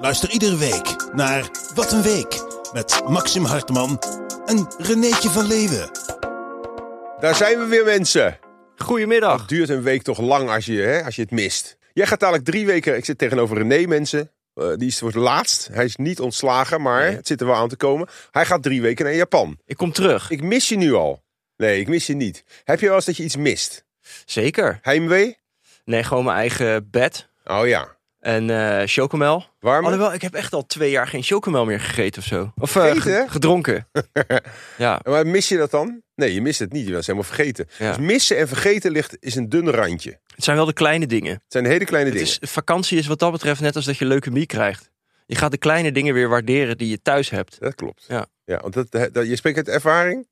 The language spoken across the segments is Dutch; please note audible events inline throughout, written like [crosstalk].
Luister iedere week naar Wat een Week met Maxim Hartman en Renéetje van Leeuwen. Daar zijn we weer, mensen. Goedemiddag. Het duurt een week toch lang als je, hè, als je het mist. Jij gaat dadelijk drie weken. Ik zit tegenover René, mensen. Eh, die is voor het laatst. Hij is niet ontslagen, maar het zit er wel aan te komen. Hij gaat drie weken naar Japan. Ik kom terug. Ik mis je nu al. Nee, ik mis je niet. Heb je wel eens dat je iets mist? Zeker. Heimwee? Nee, gewoon mijn eigen bed Oh ja. en eh chocomel. Warm? Alhoewel, ik heb echt al twee jaar geen chocomel meer gegeten of zo. Of eh, Gegeten? ge- [laughs] gedronken. ja. Maar mis je dat dan? Nee, je mist het niet. Je bent helemaal vergeten. Ja. Dus missen en vergeten ligt, is een dun randje. Het Het zijn wel de kleine dingen. zijn hele kleine Het dingen. is, vakantie is wat dat betreft net als dat je leukemie krijgt. Je gaat de kleine dingen weer waarderen die je thuis hebt. Dat klopt. Ja. ja want dat, dat- je spreekt uit ervaring?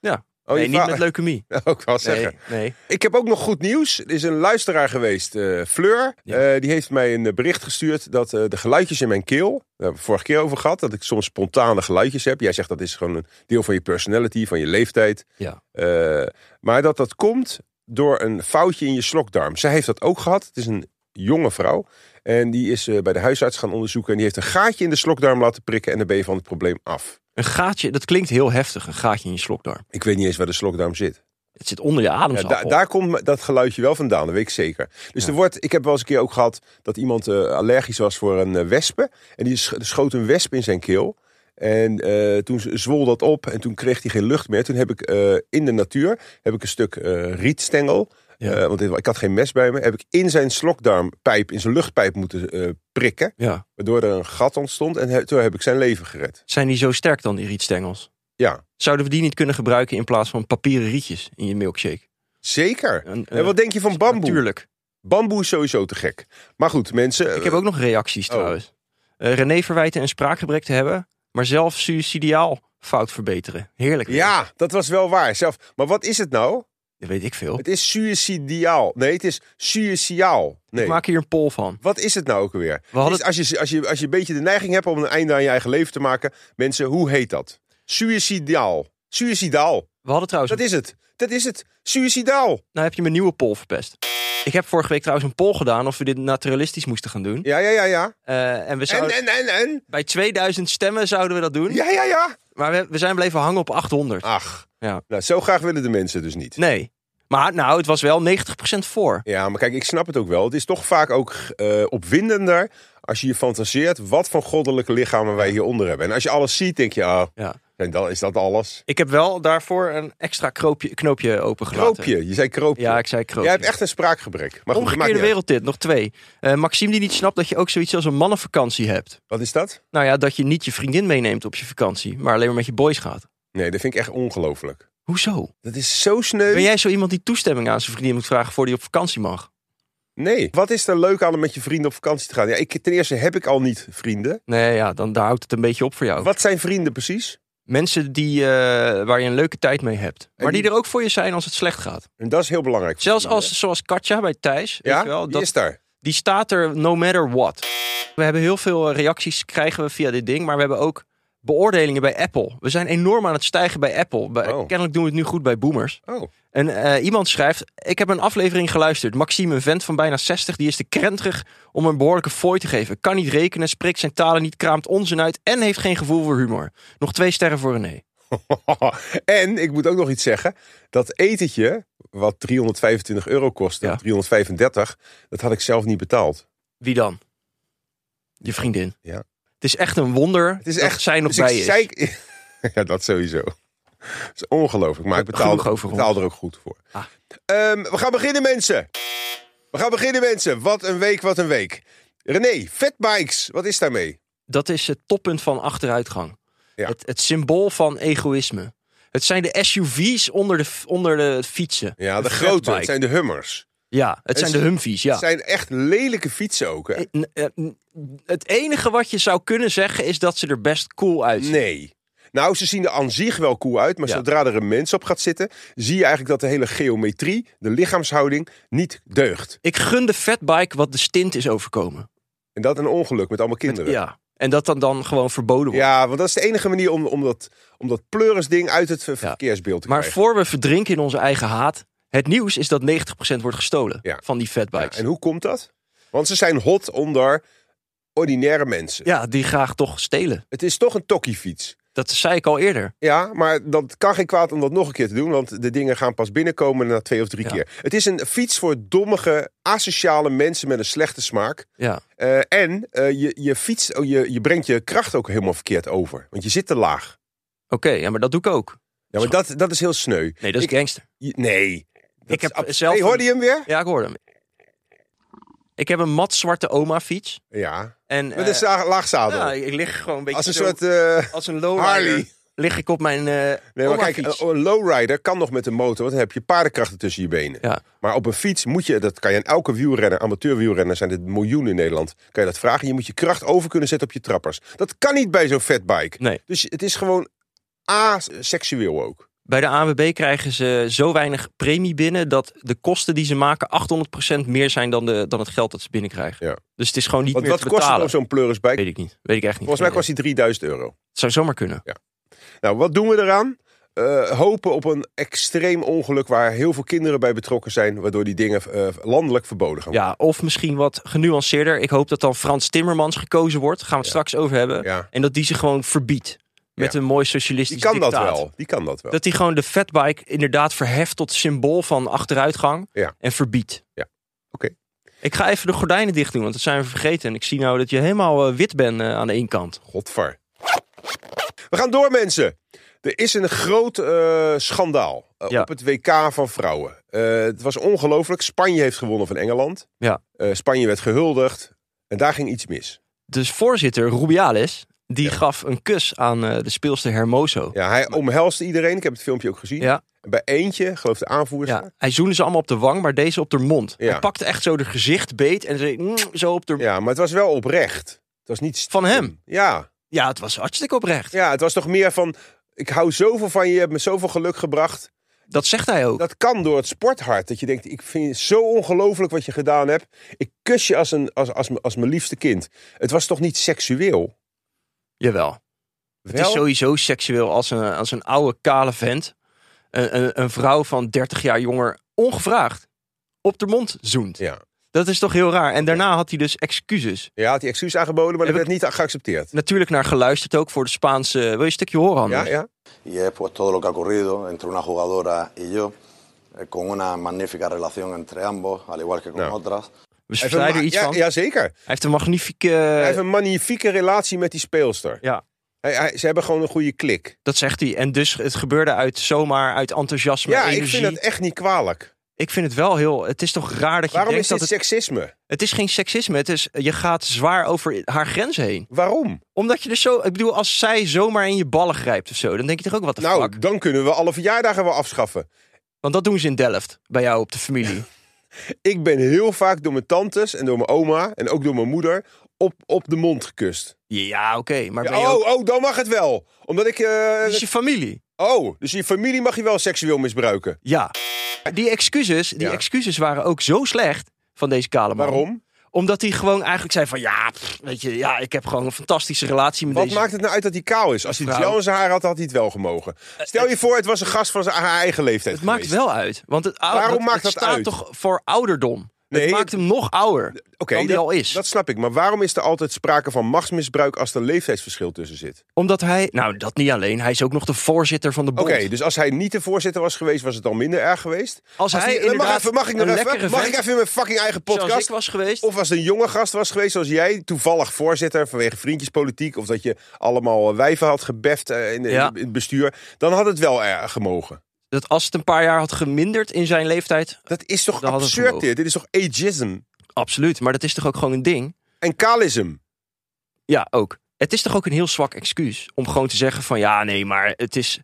Ja. Oh, nee, je niet va- [laughs] met leukemie. Ook wel zeggen. Nee, nee. Ik heb ook nog goed nieuws. Er is een luisteraar geweest, eh, Fleur. Ja. Eh, die heeft mij een eh, bericht gestuurd dat eh, de geluidjes in mijn keel... Daar hebben we het vorige keer over gehad. Dat ik soms spontane geluidjes heb. Jij zegt dat is gewoon een deel van je personality, van je leeftijd. Ja. Eh, maar dat dat komt door een foutje in je slokdarm. Zij heeft dat ook gehad. Het is een jonge vrouw. En die is eh, bij de huisarts gaan onderzoeken. En die heeft een gaatje in de slokdarm laten prikken. En dan ben je van het probleem af. Een gaatje, dat klinkt heel heftig, een gaatje in je slokdarm. Ik weet niet eens waar de slokdarm zit. Het zit onder je Ja, ademzaal. da- daar komt me- dat geluidje wel vandaan, dat weet ik zeker. Dus er wordt, ik heb wel eens een keer ook gehad dat iemand eh, allergisch was voor een eh, wespen. En die sch- schoot een wesp in zijn keel. En eh, toen z- zwol dat op en toen kreeg hij geen lucht meer. Toen heb ik eh, in de natuur heb ik een stuk eh, rietstengel. Ja. eh, want ik had geen mes bij me. Heb ik in zijn slokdarmpijp, in zijn luchtpijp moeten eh, prikken. ja. Waardoor er een gat ontstond. En he- toen heb ik zijn leven gered. Zijn die zo sterk dan, die rietstengels? Ja, Zouden we die niet kunnen gebruiken in plaats van papieren rietjes in je milkshake? zeker. Een- eh, en wat denk je van bamboe? Natuurlijk. Bamboe is sowieso te gek. Maar goed, mensen. Ik heb ook nog reacties Oh. trouwens. Eh, René verwijten een spraakgebrek te hebben, maar zelf suicidaal fout verbeteren. Heerlijk. Ja, dat was wel waar. Zelf, maar wat is het nou? Dat weet ik veel. Het is suicidiaal. Nee, het is suicidaal. Nee. Ik maak hier een poll van. Wat is het nou ook weer? hadden- Het is als, je, als, je, als je een beetje de neiging hebt om een einde aan je eigen leven te maken. Mensen, hoe heet dat? Suicidaal. Suicidaal. We hadden trouwens... Dat is het. Dat is het. Suicidaal. Nou heb je mijn nieuwe poll verpest. Ik heb vorige week trouwens een poll gedaan of we dit naturalistisch moesten gaan doen. Ja, ja, ja, ja. Eh, en we En, zouden, en, en, en. bij 2000 stemmen zouden we dat doen. Ja, ja, ja. Maar we, we zijn bleven hangen op 800. Ach. Ja. Nou, zo graag willen de mensen dus niet. Nee. Maar nou, het was wel 90% voor. Ja, maar kijk, ik snap het ook wel. Het is toch vaak ook eh, opwindender als je je fantaseert wat voor goddelijke lichamen wij hieronder hebben. En als je alles ziet, denk je, ah, Ja. en dan is dat alles. Ik heb wel daarvoor een extra kroopje, knoopje opengelaten. Kroopje, je zei kroopje. Ja, ik zei kroopje. Jij hebt echt een spraakgebrek. Maar goed, maakt Omgekeerde niet uit. wereld dit, nog twee. Eh Maxime die niet snapt dat je ook zoiets als een mannenvakantie hebt. Wat is dat? Nou ja, dat je niet je vriendin meeneemt op je vakantie, maar alleen maar met je boys gaat. Nee, dat vind ik echt ongelooflijk. Hoezo? Dat is zo sneu. Ben jij zo iemand die toestemming aan zijn vriendin moet vragen voor die op vakantie mag? Nee. Wat is er leuk aan om met je vrienden op vakantie te gaan? Ja, ik, ten eerste heb ik al niet vrienden. Nee, ja, dan daar houdt het een beetje op voor jou. Wat zijn vrienden precies? Mensen die, eh, waar je een leuke tijd mee hebt, maar die die- er ook voor je zijn als het slecht gaat. En dat is heel belangrijk. voor Zelfs vrienden. als, zoals Katja bij Thijs, weet Ja, je wel, die dat, is daar. die staat er no matter what. We hebben heel veel eh, reacties krijgen we via dit ding, maar we hebben ook beoordelingen bij Apple. We zijn enorm aan het stijgen bij Apple. Bij- Oh. Kennelijk doen we het nu goed bij boomers. Oh, En eh, iemand schrijft, ik heb een aflevering geluisterd. Maxime, een vent van bijna 60, die is te krenterig om een behoorlijke fooi te geven. Kan niet rekenen, spreekt zijn talen niet, kraamt onzin uit en heeft geen gevoel voor humor. Nog twee sterren voor René. [laughs] en ik moet ook nog iets zeggen. Dat etentje, wat 325 euro kostte, Ja. 335, dat had ik zelf niet betaald. Wie dan? Je vriendin. Ja. Het is echt een wonder Het is dat echt... zij nog dus bij ik is. zei- [laughs] ja, dat sowieso. Dat is ongelooflijk, maar ik Genoeg betaal, over ons. betaal er ook goed voor. Ah. Ehm, we gaan beginnen, mensen. We gaan beginnen, mensen. Wat een week, wat een week. René, fatbikes, wat is daarmee? Dat is het toppunt van achteruitgang. Ja. Het, het symbool van egoïsme. Het zijn de SUV's onder de, onder de fietsen. Ja, de, De grote, fatbike. het zijn de hummers. Ja, het zijn ze- de Humvees, ja. Het zijn echt lelijke fietsen ook. Hè? N- eh, n- Het enige wat je zou kunnen zeggen is dat ze er best cool uitzien. Nee. Nou, ze zien er aan zich wel cool uit, maar Ja. zodra er een mens op gaat zitten, zie je eigenlijk dat de hele geometrie, de lichaamshouding, niet deugt. Ik gun de fatbike wat de stint is overkomen. En dat een ongeluk met allemaal kinderen. Ja. En dat dan, dan gewoon verboden wordt. Ja, want dat is de enige manier om, om, dat, om dat pleurisding uit het ver- verkeersbeeld te maar krijgen. voor we verdrinken in onze eigen haat. Het nieuws is dat 90% wordt gestolen Ja. van die Ja, fatbikes. en Ja, hoe komt dat? Want ze zijn hot onder ordinaire mensen. die graag toch stelen. Het is toch een tokkiefiets. Dat zei ik al eerder. Ja, maar dat kan geen kwaad om dat nog een keer te doen, want de dingen gaan pas binnenkomen na twee of drie Ja. keer. Het is een fiets voor dommige, asociale mensen met een slechte smaak. Ja. Eh, en eh, je, je fiets, oh, je, je brengt je kracht ook helemaal verkeerd over, want je zit te laag. Oké, ja, maar dat doe ik ook. Ja, maar dat, dat is heel sneu. Nee, dat is Ik- gangster. je- nee. Dat Ik heb is ab- zelf Hey, hoorde een- je hem weer? Ja, ik hoor hem. Ik heb een mat zwarte oma fiets. Ja. En, Met een eh, za- laag zadel. ja, ik lig gewoon een beetje Als een zo- soort... eh, als een lowrider Harley. lig ik op mijn eh Nee, maar kijk, oh, oma-fiets. een een lowrider kan nog met een motor, want dan heb je paardenkrachten tussen je benen. Ja. Maar op een fiets moet je, dat kan je aan elke wielrenner, amateurwielrenner zijn er miljoenen in Nederland, kan je dat vragen. Je moet je kracht over kunnen zetten op je trappers. Dat kan niet bij zo'n fatbike. Nee. Dus het is gewoon aseksueel ook. Bij de AWB krijgen ze zo weinig premie binnen dat de kosten die ze maken 800% meer zijn dan, de, dan het geld dat ze binnenkrijgen. Ja. Dus het is gewoon niet Want meer wat te kost het betalen. om zo'n pleurisbike? Weet ik niet. Weet ik echt niet. Volgens mij kost die 3000 euro. Het zou zomaar kunnen. Nou, wat doen we eraan? Eh, hopen op een extreem ongeluk waar heel veel kinderen bij betrokken zijn, waardoor die dingen eh, landelijk verboden gaan Ja, of misschien wat genuanceerder. Ik hoop dat dan Frans Timmermans gekozen wordt. Gaan we het straks over hebben. Ja. En dat die ze gewoon verbiedt. Met Ja. een mooi Die socialistisch kan dat dictaat. wel. Die kan dat wel. Dat hij gewoon de fatbike inderdaad verheft tot symbool van achteruitgang. Ja. En verbiedt. Ja. Oké. Ik ga even de gordijnen dicht doen, want dat zijn we vergeten. En ik zie nou dat je helemaal eh, wit bent eh, aan de inkant. Godver. We gaan door, mensen. Er is een groot eh, schandaal eh, Ja. op het WK van vrouwen. Eh, het was ongelooflijk. Spanje heeft gewonnen van Engeland. Ja. Eh, Spanje werd gehuldigd. En daar ging iets mis. Dus voorzitter Rubiales, die gaf een kus aan eh, de speelster Hermoso. Ja, hij omhelste iedereen. Ik heb het filmpje ook gezien. Ja. Bij eentje, geloof de aanvoerster. Ja, hij zoende ze allemaal op de wang, maar deze op de mond. Ja. Hij pakte echt zo de gezicht beet en zei, "Mm," zo op de... Ja. Ja, maar het was wel oprecht. Het was niet stiekem. Van hem? Ja. het was hartstikke oprecht. ja, het was toch meer van... Ik hou zoveel van je, je hebt me zoveel geluk gebracht. Dat zegt hij ook. Dat kan door het sporthart. Dat je denkt, ik vind het zo ongelooflijk wat je gedaan hebt. Ik kus je als, een, als, als, m- als mijn liefste kind. Het was toch niet seksueel? Jawel. Het is sowieso seksueel als een, als een oude kale vent. Een, een, een vrouw van 30 jaar jonger, ongevraagd, op de mond zoent. Ja. Dat is toch heel raar. En daarna had hij dus excuses. ja, had hij excuus aangeboden, maar dat Heb werd niet geaccepteerd. Natuurlijk naar geluisterd ook voor de Spaanse... Wil je een stukje horen, Anders? Ja, ja. y es pues todo lo que ha ocurrido entre una jugadora y yo, eh, con una magnífica relación entre ambos, al igual que con No. otras. We Hij heeft een verspreiden ma- er iets ja, van. ja, zeker. Hij heeft een magnifieke... Hij heeft een magnifieke relatie met die speelster. Ja. Hij, hij- ze hebben gewoon een goede klik. Dat zegt hij. En dus het gebeurde uit zomaar, uit enthousiasme, Ja, ik energie. vind dat echt niet kwalijk. het wel heel... Het is toch raar dat je Waarom is denkt dit dat het... seksisme? Het is geen seksisme. Het is, je gaat zwaar over haar grenzen heen. Waarom? Omdat je dus zo... Ik bedoel, als zij zomaar in je ballen grijpt of zo... Dan denk je toch ook, wat de Nou, fuck? dan kunnen we alle verjaardagen wel afschaffen. Want dat doen ze in Delft. Bij jou op de familie. Ik ben heel vaak door mijn tantes en door mijn oma en ook door mijn moeder op, op de mond gekust. ja, oké. maar Ja, ben je ook... oh, oh, dan mag het wel. Omdat ik. eh, Het is je familie. Oh, dus je familie mag je wel seksueel misbruiken. Ja. Die excuses, die Ja. excuses waren ook zo slecht van deze kale man. Waarom? Omdat hij gewoon eigenlijk zei van... Ja, pff, weet je, ja, ik heb gewoon een fantastische relatie met Wat deze... maakt het nou uit dat hij kaal is? Als hij het Vrouw. Eh, gel in zijn haar had, had hij het wel gemogen. Stel je voor, het was een gast van zijn, haar eigen leeftijd. Het maakt geweest. wel uit. Want het, ou- Waarom het- maakt het dat staat uit? toch voor ouderdom? Nee, het maakt hem nog ouder Oké, dan Oh, die dat- al is. Dat snap ik. Maar waarom is er altijd sprake van machtsmisbruik als er leeftijdsverschil tussen zit? Omdat hij, nou dat niet alleen, hij is ook nog de voorzitter van de Oké, bond. dus als hij niet de voorzitter was geweest, was het dan minder erg geweest? Als hij die- mag, inderdaad even, mag ik nog een even? lekkere Mag vent- ik even in mijn fucking eigen podcast? Zoals ik was geweest. Of als het een jonge gast was geweest zoals jij, toevallig voorzitter vanwege vriendjespolitiek, of dat je allemaal eh, wijven had gebeft eh, in, de- Ja. in het bestuur, dan had het wel eh, gemogen. Dat als het een paar jaar had geminderd in zijn leeftijd. Dat is toch Dan had het absurd gemogen. dit? Dit is toch ageism Absoluut, maar dat is toch ook gewoon een ding? en kalism? Ja, ook. Het is toch ook een heel zwak excuus om gewoon te zeggen van ja, nee, maar het is... Ze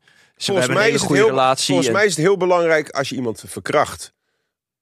Volgens hebben een mij, hele is het goede heel, relatie. volgens en- mij is het heel belangrijk als je iemand verkracht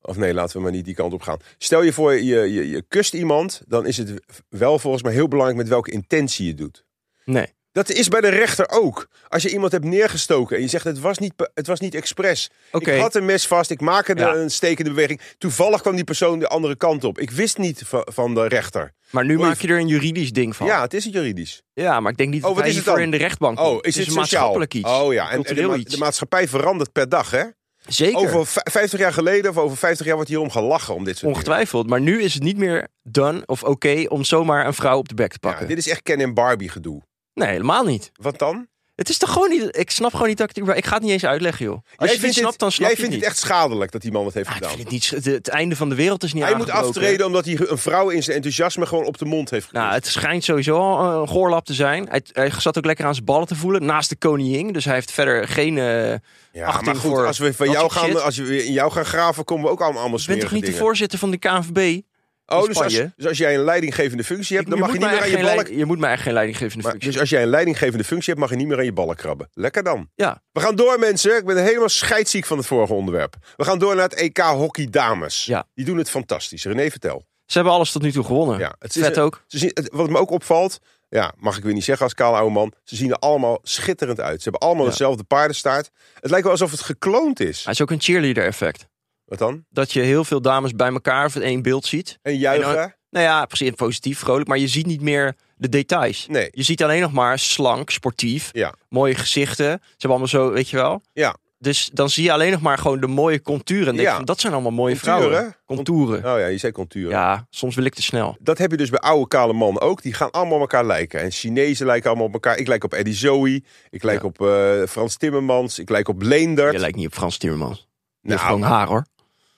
Of nee, laten we maar niet die kant op gaan. Stel je voor, je, je, je kust iemand, dan is het wel volgens mij heel belangrijk met welke intentie je doet. Nee. Dat is bij de rechter ook. Als je iemand hebt neergestoken en je zegt het was niet, pe- het was niet expres. Oké. Ik had een mes vast, ik maakte Ja. een stekende beweging. Toevallig kwam die persoon de andere kant op. Ik wist niet va- van de rechter. Maar nu Oei. maak je er een juridisch ding van. Ja, het is juridisch. Ja, maar ik denk niet Oh, dat wat wij is het hiervoor dan? in de rechtbank Oh, komt. is dit het is een sociaal? maatschappelijk iets. Oh ja, en, en de, cultureel ma- iets. de maatschappij verandert per dag, hè? Zeker, Over vij- 50 jaar geleden of over 50 jaar wordt hierom gelachen om dit soort dingen. ongetwijfeld. Maar nu is het niet meer done of oké om zomaar een vrouw op de bek te Ja, pakken. dit is echt Ken en Barbie gedoe. Nee, helemaal niet. Wat dan? Het is toch gewoon niet... Ik snap gewoon niet dat ik het... überhaupt- Ik ga het niet eens uitleggen, joh. Als je het niet vindt snapt, dan snap jij je het vindt niet. het echt schadelijk dat die man dat heeft Ah, ik gedaan. vind het niet... Het, het einde van de wereld is niet Hij moet aangebroken. aftreden omdat hij een vrouw in zijn enthousiasme gewoon op de mond heeft gekust. Nou, het schijnt sowieso al een goorlap te zijn. Hij, hij zat ook lekker aan zijn ballen te voelen, naast de koningin. Dus hij heeft verder geen... eh, ja, achting maar goed, voor als we, van dat jou soort gaan, shit. als we weer in jou gaan graven, komen we ook allemaal, allemaal Je bent toch smerige niet de dingen. voorzitter van de KNVB? Oh, dus als, Spanje? dus als jij een leidinggevende functie hebt, Ik- dan mag je moet niet mij meer aan je echt ballen... geen leiding- je moet mij echt geen leidinggevende Maar, functie dus als jij een leidinggevende functie hebt, mag je niet meer aan je ballen krabben. Lekker dan. Ja. We gaan door, mensen. Ik ben helemaal scheidziek van het vorige onderwerp. We gaan door naar het EK Hockey Dames. Ja. Die doen het fantastisch. René, vertel. Ze hebben alles tot nu toe gewonnen. Ja, het is Vet een- ook. Ze zien, het- wat me ook opvalt, ja, mag ik weer niet zeggen als kaal oude man. Ze zien er allemaal schitterend uit. Ze hebben allemaal Ja. dezelfde paardenstaart. Het lijkt wel alsof het gekloond is. Hij is ook een cheerleader effect. Wat dan? Dat je heel veel dames bij elkaar voor één beeld ziet. En juichen? En dan- Nou ja, precies positief, vrolijk. Maar je ziet niet meer de details. Nee. Je ziet alleen nog maar slank, sportief. Ja. Mooie gezichten. Ze hebben allemaal zo, weet je wel. Ja. Dus dan zie je alleen nog maar gewoon de mooie conturen. En denk Ja. van, dat zijn allemaal mooie Contouren, vrouwen. hè? Contouren. Oh ja, je zei contuur. Ja, soms wil ik te snel. Dat heb je dus bij oude kale mannen ook. Die gaan allemaal op elkaar lijken. En Chinezen lijken allemaal op elkaar. Ik lijk op Eddie Zoe. Ik lijk Ja. op eh, Frans Timmermans. Ik lijk op Leendert. Je lijkt niet op Frans Timmermans. Je hebt Nou, gewoon haar hoor.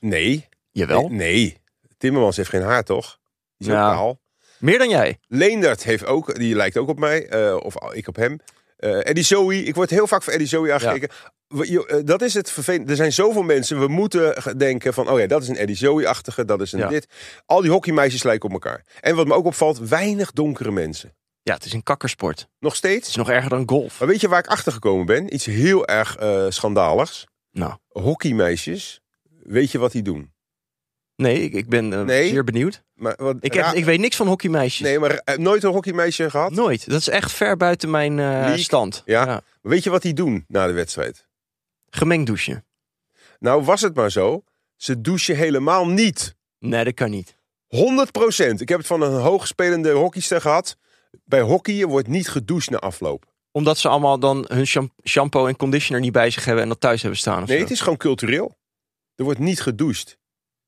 nee. Jawel. Nee. Timmermans heeft geen haar, toch? Die is ook Ja. kaal. Meer dan jij. Leendert heeft ook, die lijkt ook op mij, eh, of ik op hem. Eh Eddie Zoe, ik word heel vaak voor Eddie Zoe aangekeken. We- je- eh, Dat is het vervelend. Er zijn zoveel mensen, we moeten ge- denken van, oh ja, dat is een Eddie Zoe-achtige, dat is een Ja. dit. Al die hockeymeisjes lijken op elkaar. En wat me ook opvalt, weinig donkere mensen. Ja, het is een kakkersport. Het Nog steeds. is nog erger dan golf. Maar weet je waar ik achter gekomen ben? Iets heel erg eh, schandaligs. Nou, Hockeymeisjes, weet je wat die doen? nee, ik, ik ben eh, Nee. zeer benieuwd. Maar, wat, Ik, heb, ra- ik weet niks van hockeymeisjes. Nee, maar eh, nooit een hockeymeisje gehad? Nooit. Dat is echt ver buiten mijn eh, League. stand. Ja. Weet je wat die doen na de wedstrijd? Gemengd douchen. Nou was het maar zo, ze douchen helemaal niet. Nee, dat kan niet. 100%. Ik heb het van een hoogspelende hockeyster gehad. Bij hockeyen wordt niet gedoucht na afloop. Omdat ze allemaal dan hun sham- shampoo en conditioner niet bij zich hebben en dat thuis hebben staan. Of Nee, zo. het is gewoon cultureel. Er wordt niet gedoucht.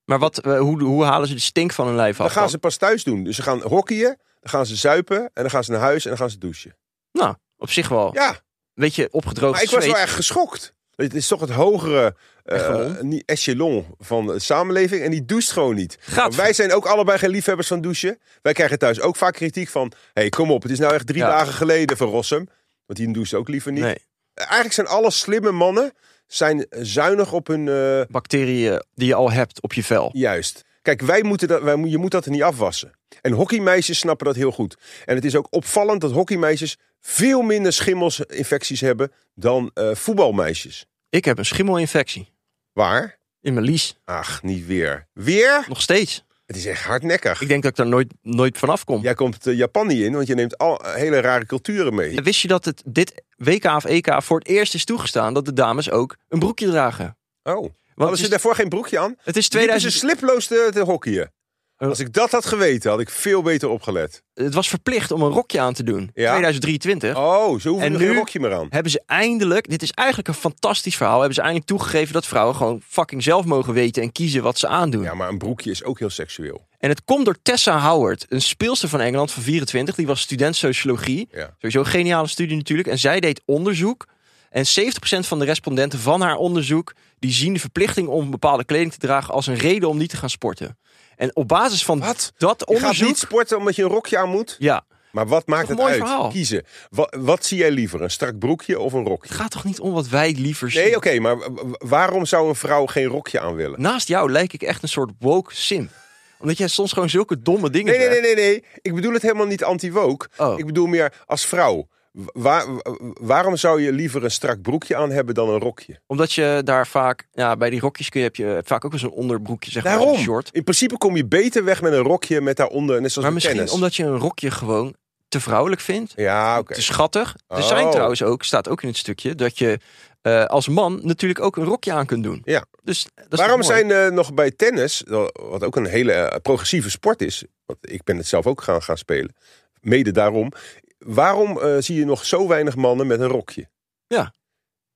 Maar wat, eh, hoe, hoe halen ze de stink van hun lijf af? Dan gaan dan? ze pas thuis doen. Dus ze gaan hockeyen, dan gaan ze zuipen en dan gaan ze naar huis en dan gaan ze douchen. Nou, op zich wel. Ja, Weet je, opgedroogd maar ik was zweet. wel echt geschokt. Het is toch het hogere eh, Echelon? niet- echelon van de samenleving en die doucht gewoon niet. Gaat Wij zijn ook allebei geen liefhebbers van douchen. Wij krijgen thuis ook vaak kritiek van... hey, kom op, het is nou echt drie Ja. dagen geleden van Rossum. Want die douchen ook liever niet. Nee, Eigenlijk zijn alle slimme mannen zijn zuinig op hun... eh, bacteriën die je al hebt op je vel. juist. Kijk, wij moeten dat, wij, mo- je moet dat er niet afwassen. En hockeymeisjes snappen dat heel goed. En het is ook opvallend dat hockeymeisjes veel minder schimmelsinfecties hebben dan eh, voetbalmeisjes. Ik heb een schimmelinfectie. Waar? In mijn lies. Ach, niet weer. Weer? Nog steeds. Het is echt hardnekkig. Ik denk dat ik daar nooit, nooit vanaf kom. Jij komt eh, Japan niet in, want je neemt al eh, hele rare culturen mee. En Wist je dat het dit WK of EK voor het eerst is toegestaan dat de dames ook een broekje dragen? Oh. Want Hadden het ze is, daarvoor geen broekje aan? het is Ze 2000, sliploos te, te hockeyen. Eh. Als ik dat had geweten, had ik veel beter opgelet. het was verplicht om een rokje aan te doen. Ja. 2023. Oh, ze hoeven En er geen nu- rokje meer aan. Hebben ze eindelijk, dit is eigenlijk een fantastisch verhaal, hebben ze eindelijk toegegeven dat vrouwen gewoon fucking zelf mogen weten en kiezen wat ze aandoen. Ja, maar een broekje is ook heel seksueel. En het komt door Tessa Howard, een speelster van Engeland van 24. Die was student sociologie. Ja. Sowieso een geniale studie natuurlijk. En zij deed onderzoek. En 70% van de respondenten van haar onderzoek... die zien de verplichting om bepaalde kleding te dragen... als een reden om niet te gaan sporten. En op basis van Wat? dat Je gaat onderzoek... niet sporten omdat je een rokje aan moet. Ja, Maar wat maakt Toch het een mooi uit? verhaal. Kiezen. Wat, wat zie jij liever, een strak broekje of een het rokje? gaat toch niet om wat wij liever zien? Nee, oké, maar w- w- waarom zou een vrouw geen rokje aan willen? Naast jou lijk ik echt een soort woke sim. Omdat jij soms gewoon zulke domme dingen Nee, nee, zegt. nee, nee, nee. Ik bedoel het helemaal niet anti-woke. Oh. Ik bedoel meer als vrouw. wa- waar- wa- waarom zou je liever een strak broekje aan hebben dan een rokje? Omdat je daar vaak, ja, bij die rokjes kun je, heb je vaak ook wel zo'n onderbroekje, zeg maar, een short. In principe kom je beter weg met een rokje met daaronder, net zoals Maar met misschien tennis. omdat je een rokje gewoon te vrouwelijk vindt. Ja, Ah, oké. Te schattig. Er Oh. zijn trouwens ook, staat ook in het stukje, dat je eh, als man natuurlijk ook een rokje aan kunt doen. Ja. Dus dat is toch Waarom mooi? zijn eh, nog bij tennis, wel, wat ook een hele eh, progressieve sport is, want ik ben het zelf ook gaan, gaan spelen, mede daarom, waarom eh, zie je nog zo weinig mannen met een rokje? Ja.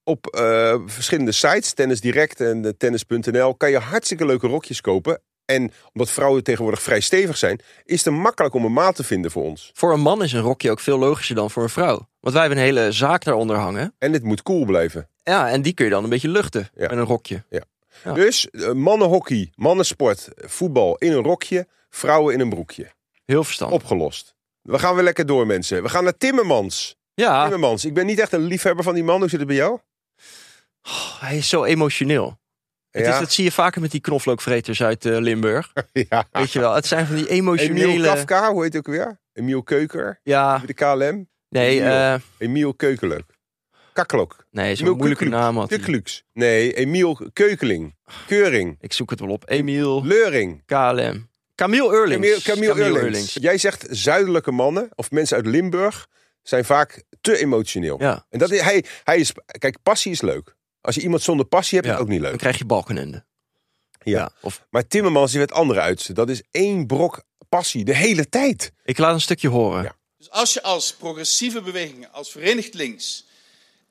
Op eh, verschillende sites, Tennis Direct en eh, tennis.nl, kan je hartstikke leuke rokjes kopen. En omdat vrouwen tegenwoordig vrij stevig zijn, is het makkelijk om een maat te vinden voor ons. Voor een man is een rokje ook veel logischer dan voor een vrouw. Want wij hebben een hele zaak daaronder hangen. En het moet cool blijven. Ja, en die kun je dan een beetje luchten Ja. met een rokje. Ja. Dus eh, mannenhockey, mannensport, voetbal in een rokje, vrouwen in een broekje. Heel verstandig. Opgelost. We gaan weer lekker door, mensen. We gaan naar Timmermans. Ja, Timmermans, ik ben niet echt een liefhebber van die man. Hoe zit het bij jou? Oh, hij is zo emotioneel. Het is, ja. dat zie je vaker met die knoflookvreters uit eh, [laughs] Limburg. ja. Weet je wel, het zijn van die Emiel emotionele... Kafka, hoe heet het ook weer? Emiel Keuker, Ja, de KLM. nee, Emiel. eh Emiel Keukerleuk. Kakkelok. nee Emiel zo'n moeilijke Kukluk. naam had De hij. Kluks. Nee, Emiel Keukeling. Keuring. Ik zoek het wel op. Emiel, Leuring. KLM. Camille Eurlings. Camille, Camille Camille Eurlings. Eurlings. Jij zegt zuidelijke mannen of mensen uit Limburg zijn vaak te emotioneel. Ja. En dat is, hij, hij is, kijk, passie is leuk. Als je iemand zonder passie hebt, Ja. is het ook niet Dan leuk. krijg je balkenende. Ja. Of Maar Timmermans heeft het andere uit. Dat is één brok passie de hele tijd. ik laat een stukje horen. Ja. Dus als je als progressieve beweging, als Verenigd Links,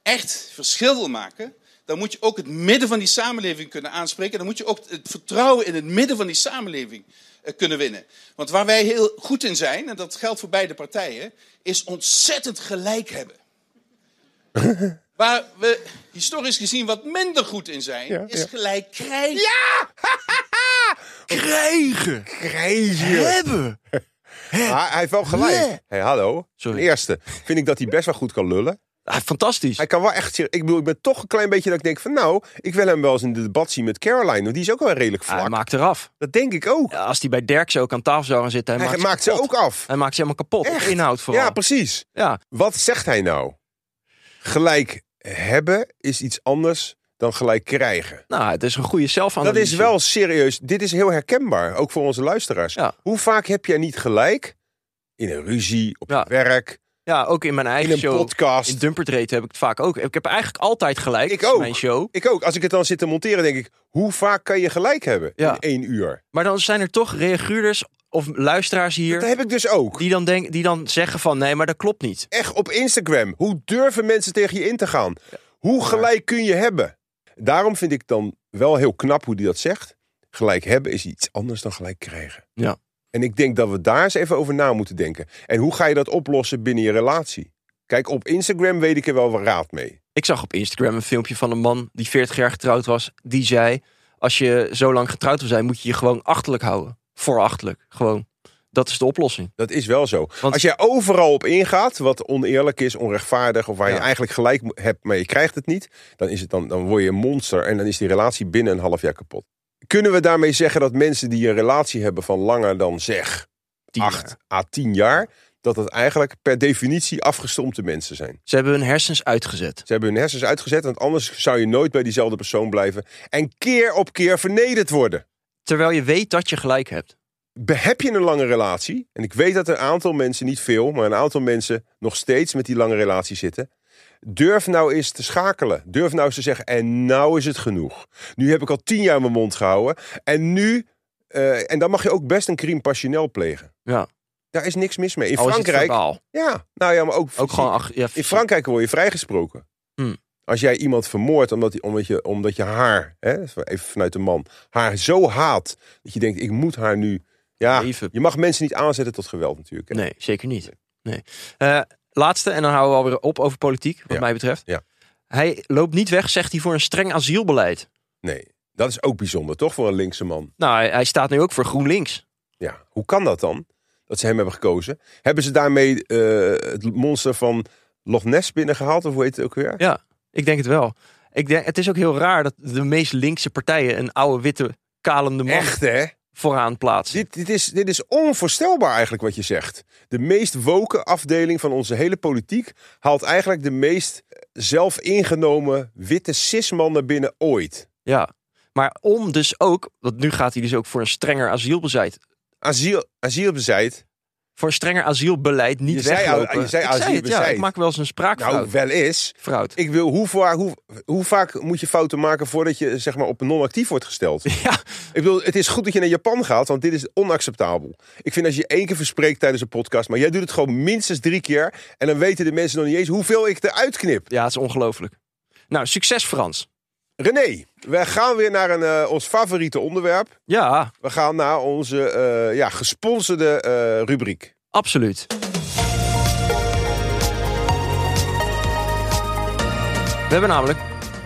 echt verschil wil maken, dan moet je ook het midden van die samenleving kunnen aanspreken. Dan moet je ook het vertrouwen in het midden van die samenleving eh, kunnen winnen. Want waar wij heel goed in zijn, en dat geldt voor beide partijen, is ontzettend gelijk hebben. [laughs] Waar we historisch gezien wat minder goed in zijn, Ja, is ja. gelijk krijgen. Krijgen. Krijgen. Hebben. Maar hij heeft wel gelijk. Ja. Hey, hallo. Sorry. Ten eerste vind ik dat hij best wel goed kan lullen. Ah, fantastisch. Hij kan wel echt... Ik bedoel, ik ben toch een klein beetje dat ik denk van... Nou, ik wil hem wel eens in de debat zien met Caroline. Want die is ook wel redelijk Ah, hij vlak. maakt eraf. dat denk ik ook. Ja, als hij bij Derksen ook aan tafel zou gaan zitten, hij, hij maakt, maakt ze ook af. hij maakt ze helemaal kapot. Op Echt? Inhoud vooral. Ja, Ja, precies. ja. Wat zegt hij nou? Gelijk hebben is iets anders dan gelijk krijgen. Nou, het is een goede Dat zelfanalyse. is wel serieus. Dit is heel herkenbaar, ook voor onze luisteraars. Ja. Hoe vaak heb jij niet gelijk? In een ruzie, op Ja. je werk, Ja, ook in mijn in eigen een show. podcast. In Dumpertreed heb ik het vaak ook. Ik heb eigenlijk altijd gelijk. Ik Dat is ook. Mijn show. Ik ook. Als ik het dan zit te monteren, denk ik... Hoe vaak kan je gelijk hebben Ja. in één uur? Maar dan zijn er toch reaguurders of luisteraars Dat hier... heb ik dus ook. Die dan, denk, die dan zeggen van, nee, maar dat klopt niet. Echt op Instagram. Hoe durven mensen tegen je in te gaan? Hoe gelijk kun je hebben? Daarom vind ik dan wel heel knap hoe die dat zegt. Gelijk hebben is iets anders dan gelijk krijgen. Ja. En ik denk dat we daar eens even over na moeten denken. En hoe ga je dat oplossen binnen je relatie? Kijk, op Instagram weet ik er wel wat raad mee. Ik zag op Instagram een filmpje van een man die 40 jaar getrouwd was. Die zei: Als je zo lang getrouwd wil zijn, moet je je gewoon achterlijk houden. Voorachtelijk. Gewoon. Dat is de oplossing. Dat is wel zo. Want- Als jij overal op ingaat, wat oneerlijk is, onrechtvaardig... of waar je Ja. eigenlijk gelijk mo- hebt, maar je krijgt het niet... Dan, is het dan, dan word je een monster en dan is die relatie binnen een half jaar kapot. Kunnen we daarmee zeggen dat mensen die een relatie hebben van langer dan zeg... Die 8 à 10 jaar, dat dat eigenlijk per definitie afgestompte mensen zijn. Ze hebben hun hersens uitgezet. Ze hebben hun hersens uitgezet, want anders zou je nooit bij diezelfde persoon blijven en keer op keer vernederd worden. Terwijl je weet dat je gelijk hebt. Be- Heb je een lange relatie? En ik weet dat een aantal mensen, niet veel, maar een aantal mensen nog steeds met die lange relatie zitten. Durf nou eens te schakelen. Durf nou eens te zeggen, en nou is het genoeg. Nu heb ik al tien jaar mijn mond gehouden. En nu, eh, en dan mag je ook best een crime passionnel plegen. Ja. Daar is niks mis mee. In Al is het Frankrijk, verbaal. ja, nou ja, maar ook, Ook fysiek. gewoon. ach- Ja, In Frankrijk word je vrijgesproken. Hmm. Als jij iemand vermoordt omdat, die- omdat, je, omdat je haar, hè, even vanuit de man, haar zo haat dat je denkt, ik moet haar nu... Ja, Even. je mag mensen niet aanzetten tot geweld natuurlijk. hè. Nee, zeker niet. Nee. Eh, laatste, en dan houden we alweer op over politiek, wat Ja. mij betreft. Ja. Hij loopt niet weg, zegt hij, voor een streng asielbeleid. nee, dat is ook bijzonder, toch, voor een linkse man. Nou, hij, hij staat nu ook voor GroenLinks. Ja, hoe kan dat dan? Dat ze hem hebben gekozen. Hebben ze daarmee eh, het monster van Loch Ness binnengehaald? Of hoe heet het ook weer? Ja, ik denk het wel. Ik denk, het is ook heel raar dat de meest linkse partijen een oude witte kalende man Echt, hè? vooraan plaatsen. Dit, dit, is, dit is onvoorstelbaar eigenlijk wat je zegt. De meest woke afdeling van onze hele politiek haalt eigenlijk de meest eh, zelfingenomen witte cisman naar binnen ooit. Ja. Maar om dus ook, want nu gaat hij dus ook voor een strenger asielbeleid. Asiel, asielbeleid. Voor een strenger asielbeleid niet Je zei al- weglopen. je zei ik zei het, ja, asielbeleid. ik maak wel eens een Nou, spraakfout. wel eens. Fout. Ik wil, hoe, vaak- hoe, hoe vaak moet je fouten maken voordat je zeg maar, op non-actief wordt [laughs] gesteld? Ja, Ik bedoel, het is goed dat je naar Japan gaat, want dit is onacceptabel. Ik vind als je één keer verspreekt tijdens een podcast, maar jij doet het gewoon minstens drie keer. En dan weten de mensen nog niet eens hoeveel ik eruit knip. ja, het is ongelooflijk. Nou, succes Frans. René, we gaan weer naar een, eh, ons favoriete onderwerp. Ja, We gaan naar onze eh, ja, gesponsorde eh, rubriek. absoluut. We hebben namelijk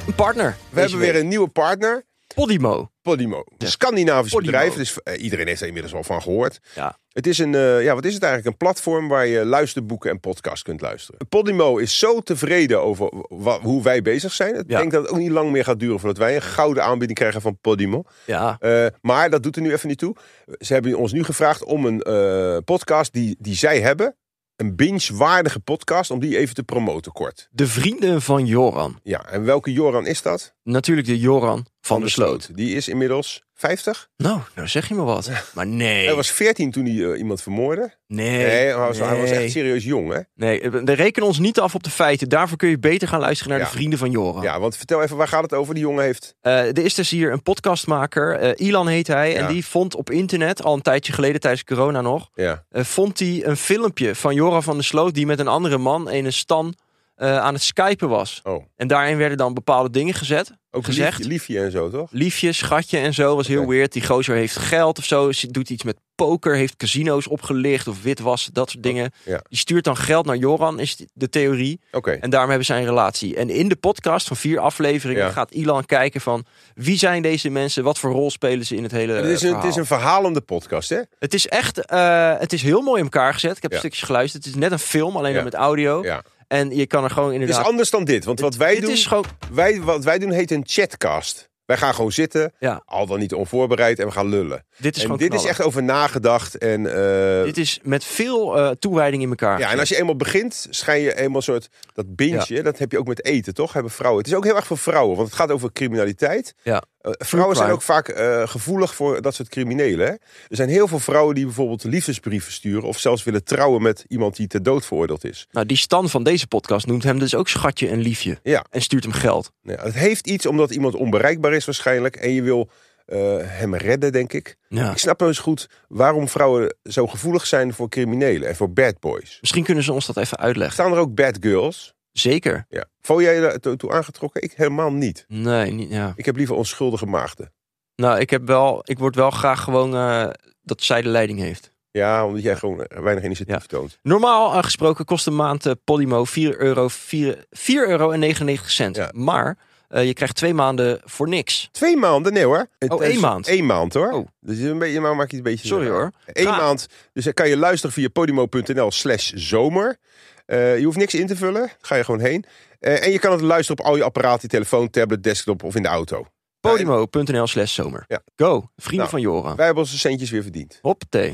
een partner. We hebben weer een nieuwe partner, Podimo. Podimo. Een Scandinavisch Podimo. bedrijf, dus eh, iedereen heeft er inmiddels al van gehoord. Ja. Het is een, eh, ja, wat is het eigenlijk? Een platform waar je luisterboeken en podcasts kunt luisteren. Podimo is zo tevreden over wa- hoe wij bezig zijn. Ik Ja. denk dat het ook niet lang meer gaat duren voordat wij een gouden aanbieding krijgen van Podimo. Ja. Eh, maar dat doet er nu even niet toe. Ze hebben ons nu gevraagd om een eh, podcast die, die zij hebben, een binge-waardige podcast, om die even te promoten kort. De vrienden van Joran. Ja, en welke Joran is dat? Van, Natuurlijk de Joran van der Sloot. Die is inmiddels 50. Nou, nou zeg je me wat. Maar nee. Hij was 14 toen hij eh, iemand vermoorde. nee. Nee, hij, was, hij was nee. echt serieus jong, hè? Nee, we rekenen ons niet af op de feiten. Daarvoor kun je beter gaan luisteren naar Ja. de vrienden van Joran. Ja, want vertel even, waar gaat het over? Die jongen heeft... Eh, er is dus hier een podcastmaker, eh, Ilan heet hij, Ja. en die vond op internet, al een tijdje geleden tijdens corona nog, Ja. eh, vond hij een filmpje van Joran van der Sloot die met een andere man, een Stan, eh, aan het skypen was. Oh, En daarin werden dan bepaalde dingen gezet, ook gezegd. liefje, liefje en zo, toch? Liefjes, schatje en zo, was heel Oké. weird. Die gozer heeft geld of zo, ze- doet iets met poker, heeft casino's opgelicht of witwassen, dat soort dingen. Oh, ja. Die stuurt dan geld naar Joran, is de theorie. Oké. En daarmee hebben zij een relatie. En in de podcast van vier afleveringen Ja. gaat Ilan kijken van wie zijn deze mensen, wat voor rol spelen ze in het hele Het is, een, eh, verhaal. het is een verhalende podcast, hè? Het is echt, eh, het is heel mooi in elkaar gezet. Ik heb Ja. stukjes geluisterd. Het is net een film, alleen Ja. dan met audio. Ja. En je kan er gewoon Het is inderdaad. anders dan dit, want wat wij dit doen... is gewoon, Wij, wat wij doen heet een chatcast. Wij gaan gewoon zitten, ja, al dan niet onvoorbereid, en we gaan lullen. dit en is gewoon. dit is knallen. echt over nagedacht. En, eh, Dit is met veel eh, toewijding in elkaar. ja, en als je eenmaal begint, schijn je eenmaal een soort... Dat bintje, dat heb je ook met eten, toch? Hebben vrouwen. Het is ook heel erg voor vrouwen, want het gaat over criminaliteit. Ja. Eh, vrouwen zijn crime. ook vaak eh, gevoelig voor dat soort criminelen. Hè? Er zijn heel veel vrouwen die bijvoorbeeld liefdesbrieven sturen... of zelfs willen trouwen met iemand die ter dood veroordeeld is. Nou, die Stan van deze podcast noemt hem dus ook schatje en liefje. Ja. En stuurt hem geld. Nou ja, het heeft iets omdat iemand onbereikbaar is waarschijnlijk. En je wil eh, hem redden, denk ik. Ja. Ik snap nou eens goed waarom vrouwen zo gevoelig zijn voor criminelen en voor bad boys. Misschien kunnen ze ons dat even uitleggen. Staan er ook bad girls? Zeker. Ja. Voel jij je toe, toe aangetrokken? Ik helemaal niet. Nee, niet, ja. Ik heb liever onschuldige maagden. Nou, ik heb wel, ik word wel graag gewoon eh, dat zij de leiding heeft. Ja, omdat jij gewoon weinig initiatief toont. Normaal eh, gesproken kost een maand eh, Podimo 4,99 euro, 4, 4 euro en 99 cent. Ja. Maar eh, je krijgt twee maanden voor niks. Twee maanden? Nee hoor. Het Oh, is één maand. Eén maand hoor. Oh. Dus een beetje, nou maak je het een beetje... Sorry hoor. Eén Ja. maand. Dus dan kan je luisteren via podimo.nl slash zomer. Eh, je hoeft niks in te vullen. Ga je gewoon heen. Eh, en je kan het luisteren op al je apparaten. Telefoon, tablet, desktop of in de auto. Podimo.nl slash zomer. Ja. Go, vrienden Nou. van Joran. Wij hebben onze centjes weer verdiend. Hoppatee.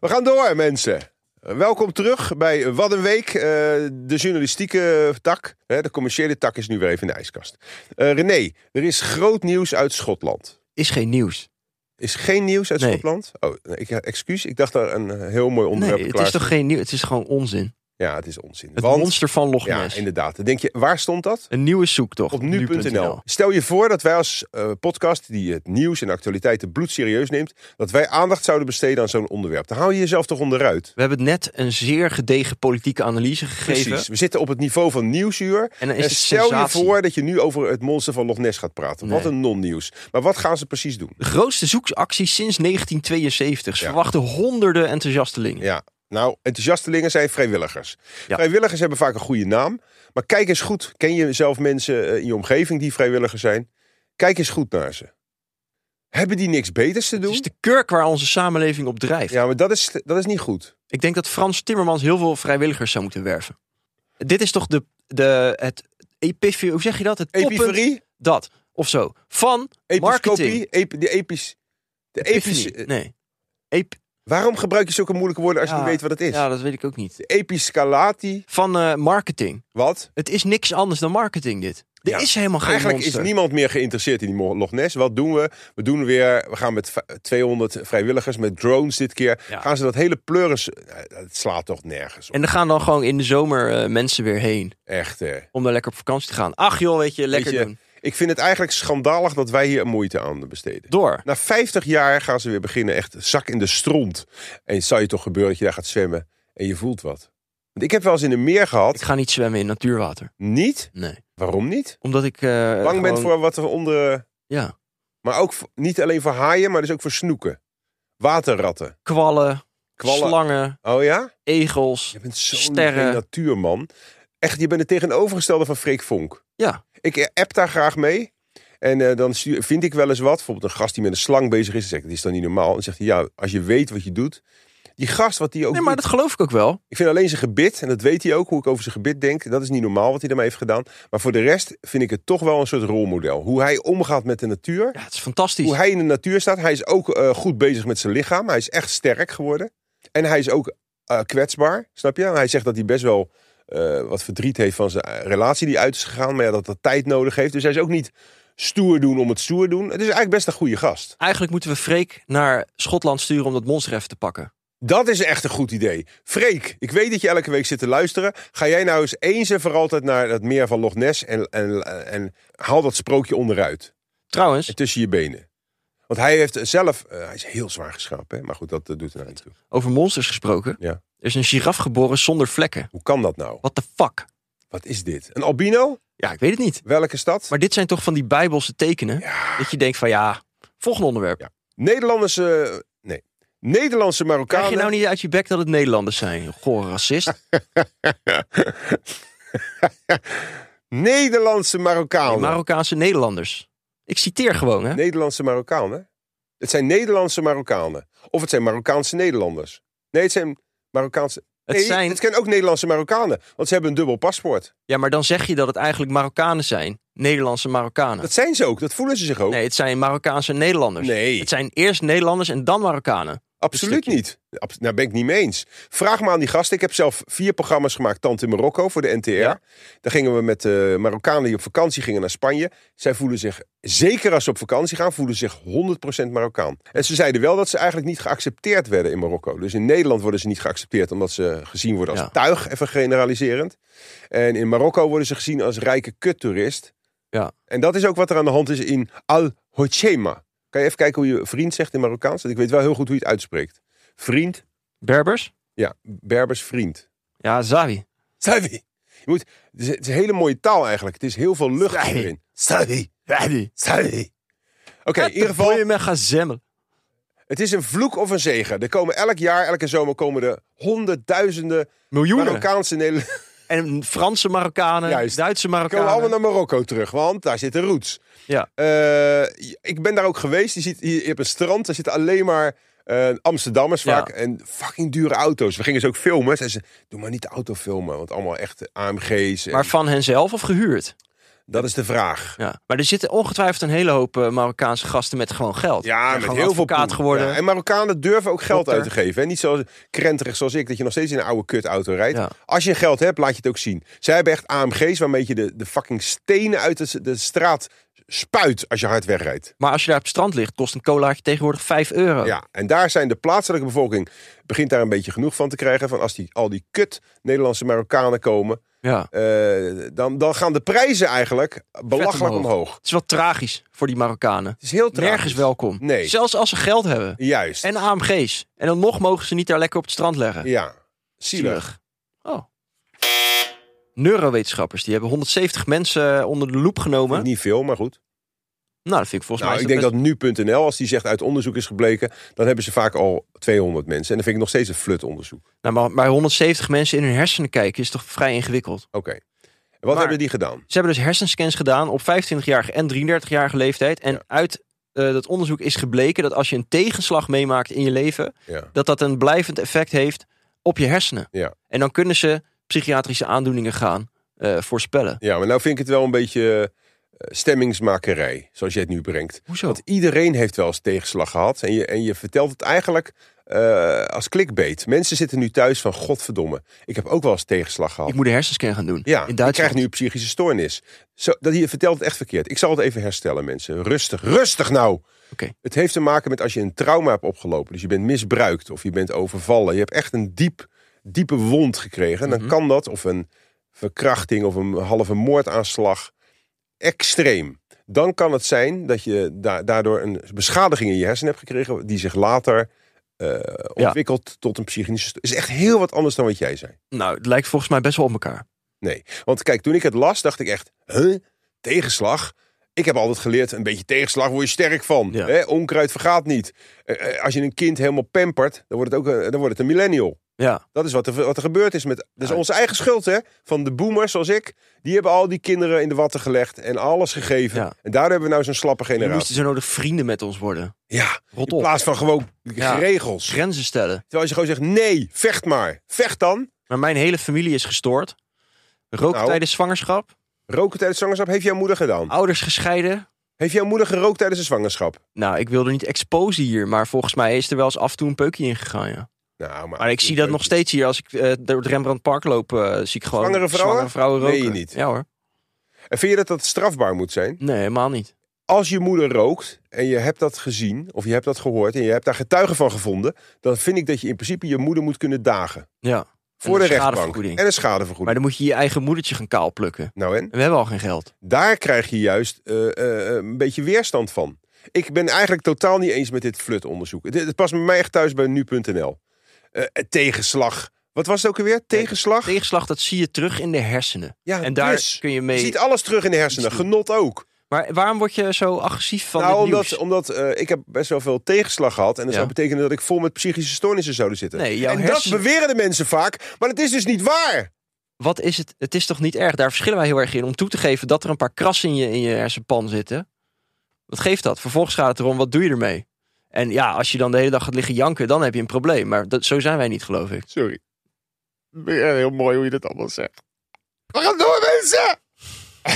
We gaan door, mensen. Welkom terug bij Wat een Week, eh, de journalistieke tak. Hè, De commerciële tak is nu weer even in de ijskast. Eh, René, er is groot nieuws uit Schotland. Is geen nieuws. Is geen nieuws uit Nee. Schotland? Oh, ik, excuus, ik dacht daar een eh, heel mooi onderwerp Nee, het klaar is toch geen nieuws. Het is gewoon onzin. Ja, het is onzin. Het Want- monster Oh, van Loch ja, Ness. inderdaad. Dan denk je, waar stond dat? een nieuwe zoektocht. Op nu.nl. Stel je voor dat wij als eh, podcast die het nieuws en de actualiteiten bloedserieus neemt, dat wij aandacht zouden besteden aan zo'n onderwerp. Dan hou je jezelf toch onderuit. We hebben net een zeer gedegen politieke analyse gegeven. Precies. We zitten op het niveau van nieuwsuur. En dan is En het stel sensatie. je voor dat je nu over het monster van Loch Ness gaat praten. Wat Nee. een non-nieuws. Maar wat gaan ze precies doen? De grootste zoekactie sinds 1972. Ze Ja. verwachten honderden enthousiastelingen. Ja, nou, enthousiastelingen zijn vrijwilligers. Ja. Vrijwilligers hebben vaak een goede naam. Maar kijk eens goed. Ken je zelf mensen eh, in je omgeving die vrijwilliger zijn? Kijk eens goed naar ze. Hebben die niks beters te Het doen? is de kurk waar onze samenleving op drijft. Ja, maar dat is, dat is niet goed. Ik denk dat Frans Timmermans heel veel vrijwilligers zou moeten werven. Dit is toch de, de, het epifie, hoe zeg je dat? Het toppunt, Epiferie, dat, of zo, van marketing. episcopie, ep- de epis, De Epiphany. epische, Nee. Ep waarom gebruik je zulke moeilijke woorden eh, als je Ja. niet weet wat het is? ja, dat weet ik ook niet. De episcalati, Van eh, marketing. wat? Het is niks anders dan marketing, dit. Er Ja. is helemaal geen Eigenlijk monster. is niemand meer geïnteresseerd in die Mo- Loch Ness. Wat doen we? We doen weer, we gaan met v- 200 vrijwilligers, met drones dit keer. Ja. Gaan ze dat hele pleuris, nou, het slaat toch nergens op. En er gaan dan gewoon in de zomer eh, mensen weer heen. Echt, hè. Om daar lekker op vakantie te gaan. Ach joh, weet je, lekker Weet je, doen. Ik vind het eigenlijk schandalig dat wij hier moeite aan besteden. Door. Na 50 jaar gaan ze weer beginnen echt zak in de stront. En het zou je toch gebeuren dat je daar gaat zwemmen en je voelt wat. Want ik heb wel eens in een meer Ik gehad. ga niet zwemmen in natuurwater. Niet. Nee. Waarom niet? Omdat ik... eh, Bang gewoon- bent voor wat er onder... Ja. Maar ook voor- niet alleen voor haaien, maar dus ook voor snoeken. Waterratten. Kwallen, Kwallen. slangen, Oh ja? egels. Je bent zo'n Sterren. geen natuurman. Echt, je bent het tegenovergestelde van Freek Vonk. Ja. Ik eh, app daar graag mee. En eh, dan stuur- vind ik wel eens wat. Bijvoorbeeld een gast die met een slang bezig is. Dan zeg ik, dat is dan niet normaal. En dan zegt hij, ja, als je weet wat je doet. Die gast, wat die ook Nee, maar doet. dat geloof ik ook wel. Ik vind alleen zijn gebit, en dat weet hij ook, hoe ik over zijn gebit denk. Dat is niet normaal wat hij daarmee heeft gedaan. Maar voor de rest vind ik het toch wel een soort rolmodel. Hoe hij omgaat met de natuur. Ja, het is fantastisch. Hoe hij in de natuur staat. Hij is ook eh, goed bezig met zijn lichaam. Hij is echt sterk geworden. En hij is ook eh, kwetsbaar, snap je? Hij zegt dat hij best wel eh, wat verdriet heeft van zijn eh, relatie die uit is gegaan. Maar ja, dat dat tijd nodig heeft. Dus hij is ook niet stoer doen om het stoer doen. Het is eigenlijk best een goede gast. Eigenlijk moeten we Freek naar Schotland sturen om dat monster even te pakken. Dat is echt een goed idee. Freek, ik weet dat je elke week zit te luisteren. Ga jij nou eens eens en voor altijd naar het meer van Loch Ness en, en, eh, en haal dat sprookje onderuit. Trouwens, En tussen je benen. Want hij heeft zelf, eh, hij is heel zwaar geschapen, hè? maar goed, dat eh, doet er nou niet toe. over monsters gesproken. Ja. Er is een giraf geboren zonder vlekken. Hoe kan dat nou? What the fuck? Wat is dit? Een albino? Ja, ik weet het niet. Welke stad? Maar dit zijn toch van die bijbelse tekenen? Dat je denkt van ja, volgende onderwerp. Ja. Nederlanders, eh, nee. Nederlandse Krijg Marokkanen. je nou niet uit je bek dat het Nederlanders zijn? Goor racist. [laughs] Nederlandse Die Marokkanen. Marokkaanse Nederlanders. Ik citeer gewoon, hè? Nederlandse Marokkanen. Het zijn Nederlandse Marokkanen. Of het zijn Marokkaanse Nederlanders. Nee, het zijn Marokkaanse... Het nee, zijn- het zijn ook Nederlandse Marokkanen. Want ze hebben een dubbel paspoort. Ja, maar dan zeg je dat het eigenlijk Marokkanen zijn. Nederlandse Marokkanen. Dat zijn ze ook. Dat voelen ze zich ook. Nee, het zijn Marokkaanse Nederlanders. Nee. Het zijn eerst Nederlanders en dan Marokkanen. Absoluut stukje. niet. Abs- Daar ben ik niet mee eens. Vraag me aan die gasten. Ik heb zelf vier programma's gemaakt. Tante in Marokko voor de NTR. Ja. Daar gingen we met eh, Marokkanen die op vakantie gingen naar Spanje. Zij voelen zich, zeker als ze op vakantie gaan, voelen zich 100% Marokkaan. En ze zeiden wel dat ze eigenlijk niet geaccepteerd werden in Marokko. Dus in Nederland worden ze niet geaccepteerd omdat ze gezien worden als Ja. tuig, even generaliserend. En in Marokko worden ze gezien als rijke kuttoerist. Ja. En dat is ook wat er aan de hand is in Al-Hoceima. Kan je even kijken hoe je vriend zegt in Marokkaans? Want ik weet wel heel goed hoe je het uitspreekt. Vriend, Berbers? ja, Berbers vriend. Ja, Zawi. Savi. Je moet, het, is, het is een hele mooie taal eigenlijk. Het is heel veel lucht Savi. erin. Savi. Zawi. Savi. Oké, in ieder geval, met gazemmel. het is een vloek of een zegen. Er komen elk jaar, elke zomer komen er honderdduizenden Miljoenen. Marokkaanse Nederlanders. En Franse Marokkanen, Juist. Duitse We [laughs] komen allemaal Marokkanen. naar Marokko terug, want daar zitten roots. Ja. Eh, ik ben daar ook geweest. Je, ziet, je hebt een strand, daar zitten alleen maar eh, Amsterdammers Ja. vaak. En fucking dure auto's. We gingen ze ook filmen. Zeiden ze, doe maar niet de auto filmen. Want allemaal echt AMG's. En Maar van henzelf of gehuurd? dat is de vraag. Ja. Maar er zitten ongetwijfeld een hele hoop eh, Marokkaanse gasten met gewoon geld. Ja, Die met gewoon heel veel advocaat poen. geworden. Ja, en Marokkanen durven ook geld Dokter. uit te geven. Hè? Niet zo krenterig zoals ik, dat je nog steeds in een oude kutauto rijdt. Ja. Als je geld hebt, laat je het ook zien. Zij hebben echt AMG's waarmee je de, de fucking stenen uit de, de straat spuit als je hard wegrijdt. Maar als je daar op het strand ligt, kost een colaatje tegenwoordig 5 euro. Ja, en daar zijn de plaatselijke bevolking begint daar een beetje genoeg van te krijgen. Van als die, al die kut Nederlandse Marokkanen komen, Ja. eh, dan, dan gaan de prijzen eigenlijk belachelijk omhoog. omhoog. Het is wel tragisch voor die Marokkanen. Het is heel tragisch. Nergens welkom. Nee. Zelfs als ze geld hebben. Juist. En AMG's. En dan nog mogen ze niet daar lekker op het strand leggen. ja, zielig. Oh. Neurowetenschappers, die hebben 170 mensen eh, onder de loep genomen. Niet veel, maar goed. Nou, dat vind ik volgens Nou, mij... ik is denk dat nu.nl, als die zegt uit onderzoek is gebleken, dan hebben ze vaak al 200 mensen. En dan vind ik nog steeds een flut onderzoek. Oké. Nou, maar, maar 170 mensen in hun hersenen kijken is toch vrij ingewikkeld. En Wat Maar- hebben die gedaan? Ze hebben dus hersenscans gedaan op 25-jarige en 33-jarige leeftijd. En Ja. uit eh, dat onderzoek is gebleken dat als je een tegenslag meemaakt in je leven, Ja. dat dat een blijvend effect heeft op je hersenen. Ja. En dan kunnen ze psychiatrische aandoeningen gaan eh, voorspellen. Ja, maar nou vind ik het wel een beetje stemmingsmakerij, zoals jij het nu brengt. Hoezo? Want iedereen heeft wel eens tegenslag gehad. En je, en je vertelt het eigenlijk eh, als clickbait. Mensen zitten nu thuis van godverdomme. Ik heb ook wel eens tegenslag gehad. Ik moet een hersenscan gaan doen. Ja, in ik Duitsland. krijg nu een psychische stoornis. Zo, dat hier vertelt het echt verkeerd. Ik zal het even herstellen, mensen. Rustig, rustig nou! Oké. Het heeft te maken met als je een trauma hebt opgelopen. Dus je bent misbruikt of je bent overvallen. Je hebt echt een diep, diepe wond gekregen. Mhm. Dan kan dat, of een verkrachting of een halve moordaanslag, extreem. Dan kan het zijn dat je da- daardoor een beschadiging in je hersenen hebt gekregen... die zich later eh, ontwikkelt tot een psychische... sto- is echt heel wat anders dan wat jij zei. Nou, het lijkt volgens mij best wel op elkaar. Nee. Want kijk, toen ik het las, dacht ik echt, huh? Tegenslag? Ik heb altijd geleerd, een beetje tegenslag word je sterk van. Ja. Hè? Onkruid vergaat niet. Eh, eh, als je een kind helemaal pampert, dan wordt het ook een, dan wordt het een millennial. Ja, Dat is wat er, wat er gebeurd is. Met, dat is Ja. onze eigen schuld, hè? Van de boomers zoals ik. Die hebben al die kinderen in de watten gelegd en alles gegeven. Ja. En daardoor hebben we nou zo'n slappe we generatie. moesten zo nodig vrienden met ons worden. Ja, in Rot op. plaats van gewoon Ja. regels. Grenzen stellen. Terwijl je gewoon zegt, nee, vecht maar. Vecht dan. Maar mijn hele familie is gestoord. Rook Nou. tijdens zwangerschap. Roken tijdens zwangerschap heeft jouw moeder gedaan. Ouders gescheiden. Heeft jouw moeder gerookt tijdens de zwangerschap? Nou, ik wilde niet exposen hier, maar volgens mij is er wel eens af en toe een peukje ingegaan. Ja. Nou, maar, Maar ik zie dat nog steeds hier. Als ik eh, door het Rembrandt Park loop, eh, zie ik gewoon Zwangere vrouwen? roken. Meen je niet? Ja hoor. En vind je dat dat strafbaar moet zijn? Nee, helemaal niet. Als je moeder rookt en je hebt dat gezien of je hebt dat gehoord en je hebt daar getuigen van gevonden, dan vind ik dat je in principe je moeder moet kunnen dagen. Ja. Voor een de rechtbank. schadevergoeding. En een Maar schadevergoeding. dan moet je je eigen moedertje gaan kaal plukken. Nou en? En we hebben al geen geld. Daar krijg je juist eh, eh, een beetje weerstand van. Ik ben eigenlijk totaal niet eens met dit flutonderzoek. Het, het past bij mij echt thuis bij nu.nl. Eh, eh, tegenslag. Wat was het ook alweer? Tegenslag? Tegenslag, dat zie je terug in de hersenen. Ja, en daar dus. kun je Je mee. ziet alles terug in de hersenen. Genot ook. Maar waarom word je zo agressief van nou, dit omdat, nieuws? omdat eh, ik heb best wel veel tegenslag gehad. En dat Ja. zou betekenen dat ik vol met psychische stoornissen zou zitten. Nee, jouw en hersen- dat beweren de mensen vaak. Maar het is dus niet waar. Wat is het? Het is toch niet erg? Daar verschillen wij heel erg in. Om toe te geven dat er een paar krassen in je, in je hersenpan zitten. Wat geeft dat? Vervolgens gaat het erom, wat doe je ermee? En ja, als je dan de hele dag gaat liggen janken, dan heb je een probleem. Maar dat, zo zijn wij niet, geloof ik. Sorry. Heel mooi hoe je dat allemaal zegt. We gaan door, mensen! [laughs]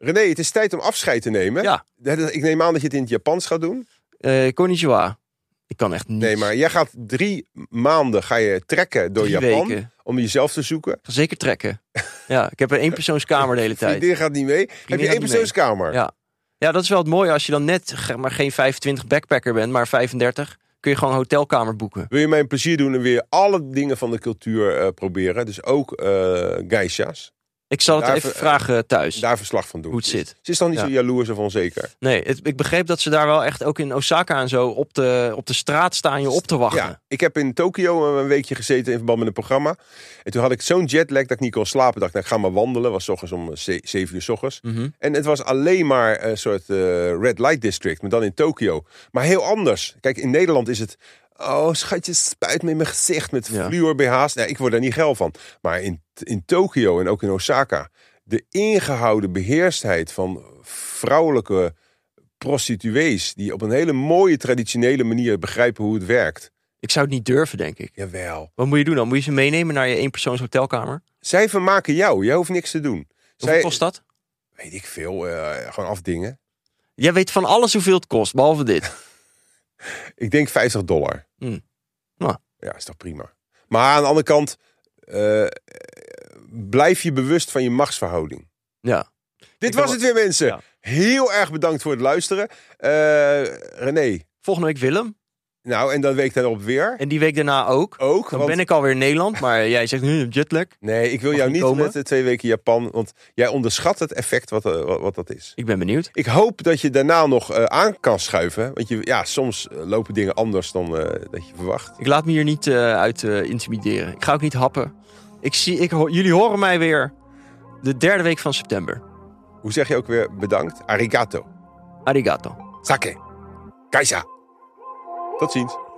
René, het is tijd om afscheid te nemen. Eh, Ja. Ik neem aan dat je het in het Japans gaat doen. Eh konnichiwa. Ik kan echt niet. Nee, maar jij gaat drie maanden ga je trekken door Drie Japan. weken. Om jezelf te zoeken. Ga zeker [laughs] trekken. ja, ik heb een eenpersoonskamer de hele tijd. Vriendin gaat niet mee. Heb gaat je niet één persoonskamer? Ja. ja, dat is wel het mooie als je dan net ge- maar geen 25 backpacker bent, maar 35. Kun je gewoon een hotelkamer boeken. Wil je mij een plezier doen en weer alle dingen van de cultuur eh, proberen? Dus ook eh geisha's. Ik zal het Daar even ver- vragen thuis. Daar verslag van doen. Hoe het zit. Ze is dan niet Ja. zo jaloers of onzeker. Nee, het- ik begreep dat ze daar wel echt ook in Osaka en zo op de, op de straat staan je op te wachten. Ja, ik heb in Tokio eh, een weekje gezeten in verband met een programma. En toen had ik zo'n jetlag dat ik niet kon slapen. Dacht, nou, ik ga maar wandelen. Was 's ochtends om eh, ze- zeven uur 's ochtends. Mhm. En het was alleen maar een soort eh, red light district, maar dan in Tokio. Maar heel anders. Kijk, in Nederland is het... Oh, schatje, spuit me in mijn gezicht met Ja. fluor BH's. Nee, ik word daar niet geil van. Maar in, in Tokio en ook in Osaka... de ingehouden beheerstheid van vrouwelijke prostituees... die op een hele mooie, traditionele manier begrijpen hoe het werkt. Ik zou het niet durven, denk ik. Jawel. Wat moet je doen dan? Moet je ze meenemen naar je eenpersoons hotelkamer? Zij vermaken jou. Jij hoeft niks te doen. Hoeveel Zij, kost dat? Weet ik veel. eh, gewoon afdingen. Jij weet van alles hoeveel het kost, behalve dit. [laughs] Ik denk 50 dollar. Hmm. Nou. Ja, is toch prima. Maar aan de andere kant, eh, blijf je bewust van je machtsverhouding. Ja. Dit Ik was wil- het weer, mensen. Ja. Heel erg bedankt voor het luisteren. Eh, René, Volgende week Willem. nou, en dan week daarop weer. En die week daarna ook. Ook, Dan want- ben ik alweer in Nederland, maar [laughs] jij zegt nu jetlag. Nee, ik wil Mag jou ik niet komen? met de twee weken Japan, want jij onderschat het effect wat, eh, wat, wat dat is. Ik ben benieuwd. Ik hoop dat je daarna nog eh, aan kan schuiven. Want je, ja, soms eh, lopen dingen anders dan eh, dat je verwacht. Ik laat me hier niet eh, uit eh, intimideren. Ik ga ook niet happen. Ik zie, ik, ho- jullie horen mij weer de derde week van september. Hoe zeg je ook weer bedankt? Arigato. Arigato. Sake. Kaisa. Tot ziens.